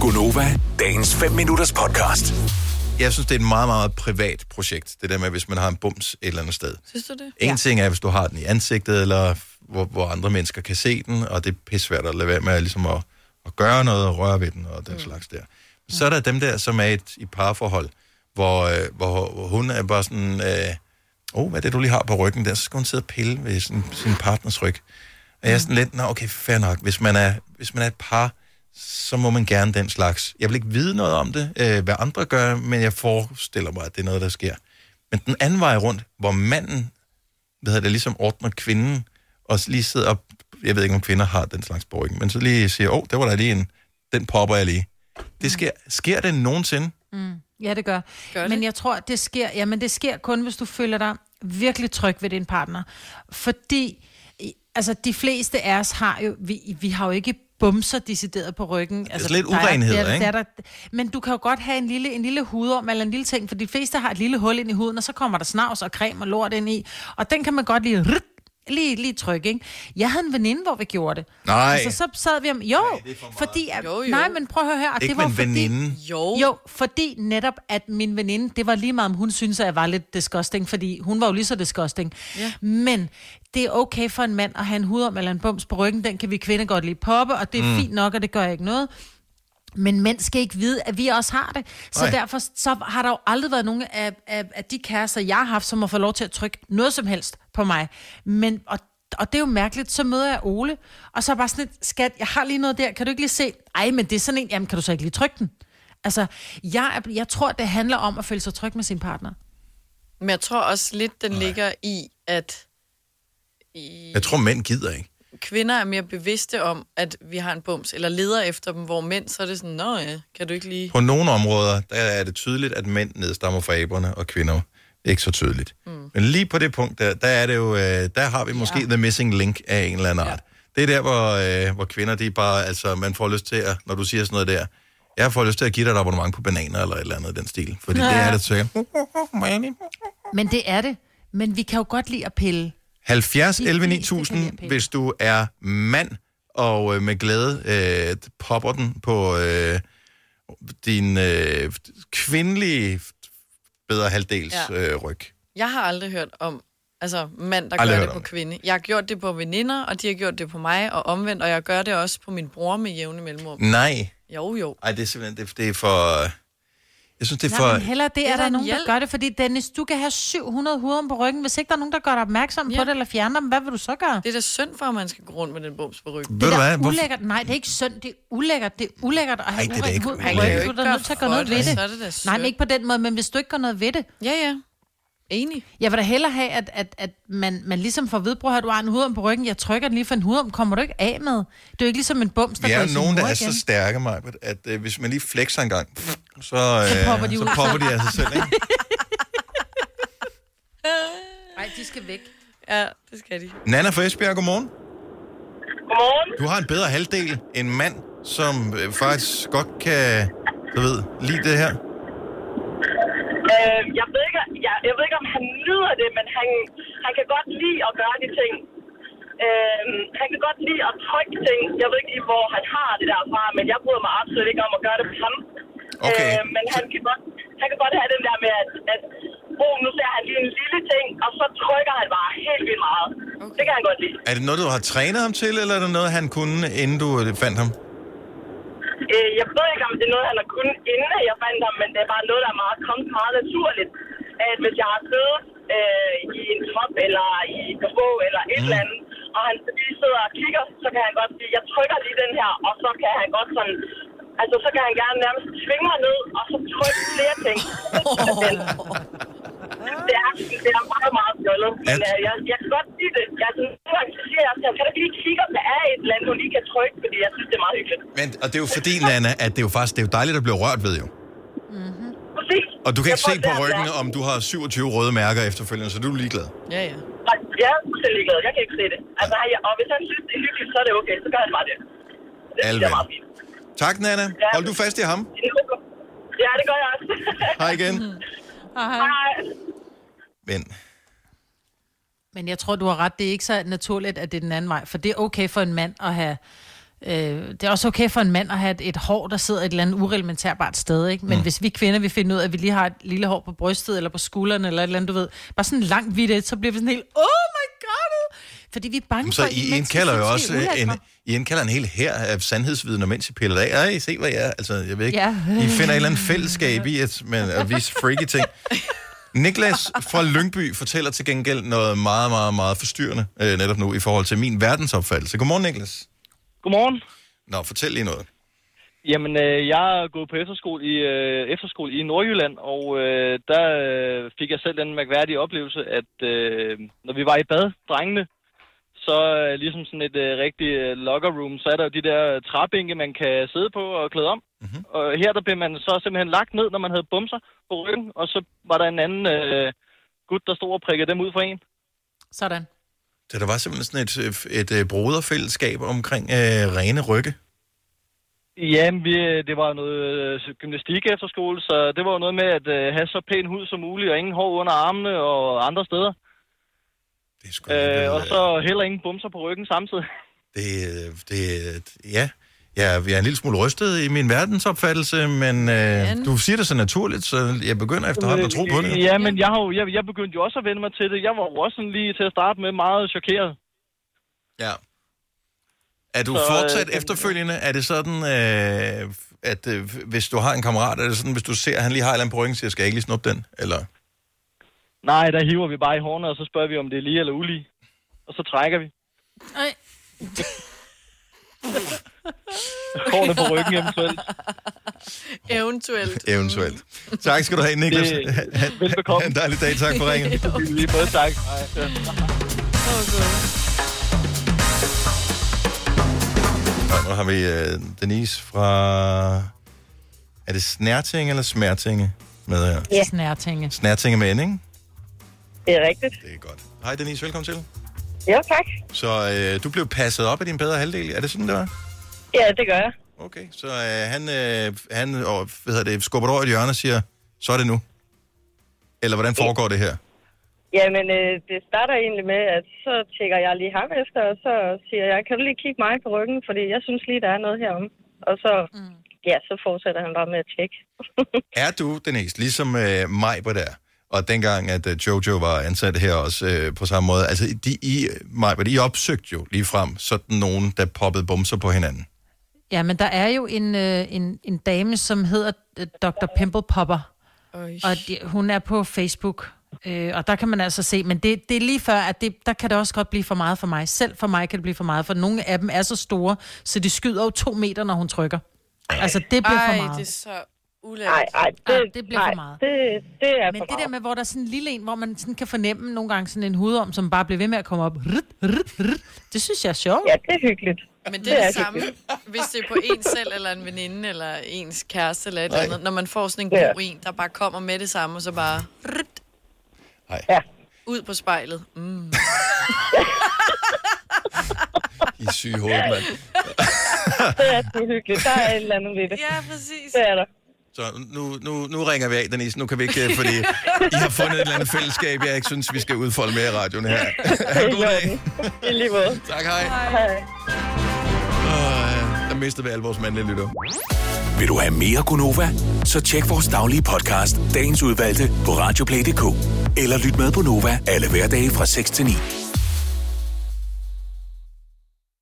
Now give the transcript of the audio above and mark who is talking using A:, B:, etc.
A: Gunova, dagens 5 minutters podcast.
B: Jeg synes, det er et meget, meget privat projekt, det der med, hvis man har en bums et eller andet sted.
C: Synes du det?
B: En ja. ting er, hvis du har den i ansigtet, eller hvor, hvor andre mennesker kan se den, og det er pissvært at lade være med ligesom at, at gøre noget og røre ved den og den mm. slags der. Men så er der dem der, som er et, i parforhold, hvor, øh, hvor, hvor hun er bare sådan, øh, oh, hvad er det, du lige har på ryggen der? Så skal hun sidde og pille ved sin, sin partners ryg. Og jeg er sådan lidt, nå okay, fair nok. Hvis man, er, hvis man er et par, så må man gerne den slags. Jeg vil ikke vide noget om det, øh, hvad andre gør, men jeg forestiller mig, at det er noget, der sker. Men den anden vej rundt, hvor manden, hvad hedder det, ligesom ordner kvinden, og lige sidder op, jeg ved ikke, om kvinder har den slags borgen, men så lige siger, åh, oh, der var der lige en, den popper jeg lige. Det sker, sker det nogensinde?
D: Ja, det gør.
C: Gør
D: gør
C: det?
D: det? Men jeg tror, det sker, jamen, det sker kun, hvis du føler dig virkelig tryg ved din partner. Fordi, i- altså, de fleste af os har jo, vi, vi har jo ikke bumser decideret på ryggen. Det
B: lidt urenheder, ikke?
D: Der, der, men du kan jo godt have en lille, en lille hudorm eller en lille ting, for de fleste har et lille hul ind i huden, og så kommer der snavs og creme og lort ind i, og den kan man godt lige, rrrt, lige, lige trykke, ikke? Jeg havde en veninde, hvor vi gjorde det.
B: Nej.
D: Altså, så sad vi om, jo,
B: det er for meget.
D: fordi... At,
C: Jo,
D: jo,
C: jo.
D: jo. Nej, men prøv at høre her. og
B: Ikke
D: det var
B: med en
D: fordi,
B: veninde.
C: Jo.
D: jo, fordi netop, at min veninde, det var lige meget, om hun synes, at jeg var lidt disgusting, fordi hun var jo lige så disgusting.
C: Ja.
D: Men det er okay for en mand at have en hudorm eller en bums på ryggen, den kan vi kvinder godt lige poppe, og det er mm. fint nok, og det gør ikke noget. Men mænd skal ikke vide, at vi også har det. Så
B: Nej.
D: Ej. derfor så har der jo aldrig været nogen af, af, af de kærester, jeg har haft, som har fået lov til at trykke noget som helst på mig. Men, og, og det er jo mærkeligt. Så møder jeg Ole, og så er jeg bare sådan lidt, skat, jeg har lige noget der, kan du ikke lige se? Ej, men det er sådan en, jamen kan du så ikke lige trykke den? Altså, jeg, er, jeg tror, det handler om at føle sig tryg med sin partner.
C: Men jeg tror også lidt, den ligger i, at i
B: Jeg tror, mænd gider ikke.
C: kvinder er mere bevidste om, at vi har en bums, eller leder efter dem, hvor mænd, så er det sådan, nå ja, kan du ikke lige...
B: På nogle områder, der er det tydeligt, at mænd nedstammer fra aberne, og kvinder ikke så tydeligt. Mm. Men lige på det punkt, der, der er det jo, øh, der har vi måske ja. the missing link af en eller anden art. Det er der, hvor, øh, hvor kvinder, de er bare, altså, man får lyst til at, når du siger sådan noget der, jeg får lyst til at give dig et abonnement på bananer, eller et eller andet i den stil. Fordi det er det til.
D: Men det er det. Men vi kan jo godt lide at pille.
B: 70 11
D: Det- det- det kan jeg
B: 9000,
D: pænt.
B: hvis du er mand, og øh, med glæde øh, popper den på øh, din øh, kvindelige bedre halvdels
C: Ja.
B: øh, ryg.
C: Jeg har aldrig hørt om altså, mand, der
B: Aldrig
C: gør
B: hørt
C: det på
B: om det.
C: kvinde. Jeg har gjort det på veninder, og de har gjort det på mig, og omvendt, og jeg gør det også på min bror med jævne mellemrum.
B: Nej,
C: Jo, jo.
B: Ej, det er simpelthen det, det er for... Jeg synes, det er
D: Nej,
B: for...
D: men hellere det,
C: er
D: er
C: da
D: der
C: en
D: nogen,
C: hjælp.
D: der gør det. Fordi Dennis, du kan have 700 huden på ryggen. Hvis ikke der er nogen, der gør dig opmærksom
C: Ja.
D: på det, eller fjerner dem, hvad vil du så gøre?
C: Det er da synd for, at man skal gå rundt med den bums på ryggen.
B: Ved
D: det
B: du
D: er
B: hvad?
D: da
B: Hvorfor-
D: ulækkert. Nej, det er ikke synd. Det er ulækkert. Det er ulækkert at have
B: Ej, det er da
D: uren
B: ikke
D: hud på
B: ulækkert.
D: ryggen.
B: Jeg
D: Du
C: kan
D: er da
C: jo
D: nødt til at
C: ikke
D: gøre
C: gøre
D: noget
C: for
D: ved
C: det, altså,
D: det.
C: så er det da
D: Nej, men
C: synd.
D: ikke på den måde. Men hvis du ikke gør noget ved det.
C: Ja, ja. Enig.
D: Jeg vil da hellere have, at, at, at man, man ligesom får ved, bror, at du har en hudorm på ryggen. Jeg trykker den lige for en hudorm. Kommer du ikke af med? Det er jo ikke ligesom en bums, der
B: Vi
D: går
B: er
D: i sin
B: nogen, der
D: mor
B: er
D: igen.
B: så stærke, Majbert, at øh, hvis man lige flexer en gang, pff, så, øh, så popper
D: popper
B: de,
D: de
B: så
D: ud.
B: popper de af sig selv, ikke?
D: Nej, de skal væk.
C: Ja, det skal de.
B: Nana fra Esbjerg, godmorgen.
E: Godmorgen.
B: Du har en bedre halvdel end mand, som øh, faktisk godt kan, du ved, lide det her.
E: Øh, jeg, ved ikke, jeg, jeg ved ikke, om han nyder det, men han, han kan godt lide at gøre de ting. Øh, han kan godt lide at trykke ting. Jeg ved ikke lige, hvor han har det derfra, men jeg bryder mig absolut ikke om at gøre det med ham.
B: Okay.
E: Øh, men han kan, godt, han kan godt have den der med, at, at oh, nu ser han lige en lille ting, og så trykker han bare helt vildt meget. Okay. Det kan han godt lide.
B: Er det noget, du har trænet ham til, eller er det noget, han kunne, inden du øh, fandt ham?
E: Øh, jeg ved ikke, om det er noget, han har kunnet, inden jeg fandt ham, men det er bare noget, der er meget, kommet meget naturligt. At hvis jeg har siddet øh, i en top eller i et bog eller et mm. eller andet, og han så lige sidder og kigger, så kan han godt sige, jeg trykker lige den her, og så kan han godt sådan... Altså, så kan han gerne nærmest tvinge mig ned, og så trykke flere ting. det, er, det er meget, meget fjollet. Men
B: At-
E: øh, jeg, jeg kan godt sige det. Jeg er sådan, nogle gange så siger jeg, også, jeg kan da ikke lige kigge, om der er et eller andet, hun lige kan trykke, fordi jeg synes, det er meget hyggeligt.
B: Men, og det er jo fordi, Nana, at det er jo faktisk det er jo dejligt at blive rørt ved, jo.
E: Præcis.
B: Og du kan
E: Jeg
B: ikke
E: får
B: se på
E: svært ved
B: ryggen,
E: at-
B: om du har 27 røde mærker efterfølgende, så du er ligeglad.
C: Ja, ja.
E: Nej, Jeg er selv ligeglad. Jeg kan ikke se det. Altså, jeg, og hvis han synes, det er hyggeligt, så er det okay. Så gør han bare det. Det synes jeg
B: Alvin.
E: er meget fint.
B: Tak, Nana. Hold du fast i ham.
E: Ja, det gør jeg også.
B: Hej igen.
E: Hej.
B: Men
D: Men jeg tror, du har ret. Det er ikke så naturligt, at det er den anden vej. For det er okay for en mand at have Øh, det er også okay for en mand at have et, et hår, der sidder et eller andet ureglementerbart sted, ikke? Men mm. hvis vi kvinder vil finde ud af, at vi lige har et lille hår på brystet, eller på skulderen, eller et eller andet, du ved, bare sådan langt hvidt, et, så bliver vi sådan helt, oh my god! Fordi vi er bange
B: Så
D: for,
B: I
D: mænd skal
B: indkalder
D: synes,
B: jo
D: vi er
B: også øh, en,
D: ulækre.
B: I indkalder en hel her af sandhedsvidner, mens I piller det af. Ej, se hvad jeg er. Altså, jeg ved ikke.
D: Ja.
B: I finder et eller andet fællesskab i at, men, at vise freaky ting. Niklas fra Lyngby fortæller til gengæld noget meget, meget, meget forstyrrende øh, netop nu i forhold til min verdensopfattelse. Godmorgen, Niklas.
F: Godmorgen.
B: Nå, fortæl lige noget.
F: Jamen, øh, jeg er gået på efterskole i, øh, efterskole i Nordjylland, og øh, der øh, fik jeg selv den mærkværdige oplevelse, at øh, når vi var i bad, drengene, så øh, ligesom sådan et øh, rigtigt øh, locker room, så er der jo de der træbænke, man kan sidde på og klæde om. Mm-hmm. Og her der blev man så simpelthen lagt ned, når man havde bumser på ryggen, og så var der en anden øh, gut, der stod og prikkede dem ud for en.
D: Sådan.
B: Så der var simpelthen sådan et, et, et broderfællesskab omkring øh, rene rygge.
F: Jamen, vi, øh, det var noget øh, gymnastik efter skole, så det var jo noget med at øh, have så pæn hud som muligt, og ingen hår under armene og andre steder.
B: Det er sgu
F: Øh,
B: alligevel,
F: og så heller ingen bumser på ryggen samtidig.
B: Det, øh, det, øh, ja, jeg, er- jeg er en lille smule rystet i min verdensopfattelse, men øh, du siger det så naturligt, så jeg begynder efterhånden at tro på det.
F: Ja, men jeg, har jo, jeg, jeg begyndte jo også at vende mig til det. Jeg var jo også sådan lige til at starte med meget chokeret.
B: Ja. Er du
F: Så, øh,
B: fortsat
F: den-
B: efterfølgende, er det sådan, øh, at øh, hvis du har en kammerat, er det sådan, hvis du ser, at han lige har et eller andet på ryggen, siger, skal jeg ikke lige snuppe den? Eller?
F: Nej, der hiver vi bare i hårene, og så spørger vi, om det er lige eller ulige. Og så trækker vi
D: Ej.
F: hårene på ryggen eventuelt.
C: Eventuelt.
B: Eventuelt. Tak skal du have, Niklas.
F: Det-
B: Ha-
F: velbekomme.
B: ha' en dejlig dag. Tak for ringen.
F: Lige både tak. Ja.
B: Nå, nu har vi øh, Denise fra... Er det Snærtinge eller Smertinge med her?
D: Ja. Snærtinge.
B: Snærtinge med N, ikke?
E: Det er rigtigt.
B: Det er godt. Hej Denise, velkommen til.
E: Ja, tak.
B: Så øh, du blev passet op af din bedre halvdel, er det sådan, det var?
E: Ja, det gør jeg.
B: Okay, så øh, han, øh, han og, hvad hedder det, skubber dig over i et hjørne og siger, så er det nu. Eller hvordan foregår det her?
E: Jamen, øh, det starter egentlig med, at så tjekker jeg lige ham efter, og så siger jeg, kan du lige kigge mig på ryggen, fordi jeg synes lige, der er noget herom. Og så, mm. ja, så fortsætter han bare med at tjekke.
B: Er du, Denise, ligesom øh, mig på der, og dengang, at øh, Jojo var ansat her også øh, på samme måde, altså de, I, mig, I opsøgte jo lige frem sådan nogen, der poppede bumser på hinanden.
D: Ja, men der er jo en, øh, en, en dame, som hedder øh, Dr. Pimple Popper.
C: Øj.
D: Og de, hun er på Facebook, øh, og der kan man altså se, men det, det er lige før, at det, der kan det også godt blive for meget for mig. Selv for mig kan det blive for meget, for nogle af dem er så store, så de skyder jo to meter, når hun trykker. Altså, det bliver for
C: Ej,
D: meget.
C: det er så
E: Nej,
C: ulækkert.
E: nej, det,
D: Ej, Ah, det bliver for
E: nej,
D: meget.
E: Det, det er
D: Men
E: for
D: det der
E: meget.
D: med, hvor der er sådan en lille en, hvor man sådan kan fornemme nogle gange sådan en hudorm, som bare bliver ved med at komme op. Rrrt, rrrt, rrrt. Det synes jeg er sjovt.
E: Ja, det er hyggeligt.
C: Men det er det
E: det er
C: samme, hvis det er på en selv, eller en veninde, eller ens kæreste, eller et eller
B: Nej.
C: andet. Når man får sådan en
E: Ja.
C: god en, der bare kommer med det samme, og så bare rrrt,
E: Ja.
C: ud på spejlet. Mm.
B: I er syge hoved, mand.
E: Det
D: Ah.
E: er sgu hyggeligt. Der er et eller andet ved det.
C: Ja, præcis.
E: Det er der.
B: Så nu, nu, nu ringer vi af, Denise. Nu kan vi ikke, øh, fordi I har fundet et eller andet fællesskab, jeg ikke synes, vi skal udfolde mere i radioen her. Ha' en god dag.
E: I lige måde.
B: Tak, hej.
E: Hej.
B: Øh, Der mistede vi alle vores mandlige lytter.
A: Vil du have mere Gunova? Så tjek vores daglige podcast, dagens udvalgte, på radioplay.dk. Eller lyt med på Nova alle hverdage fra 6 til 9.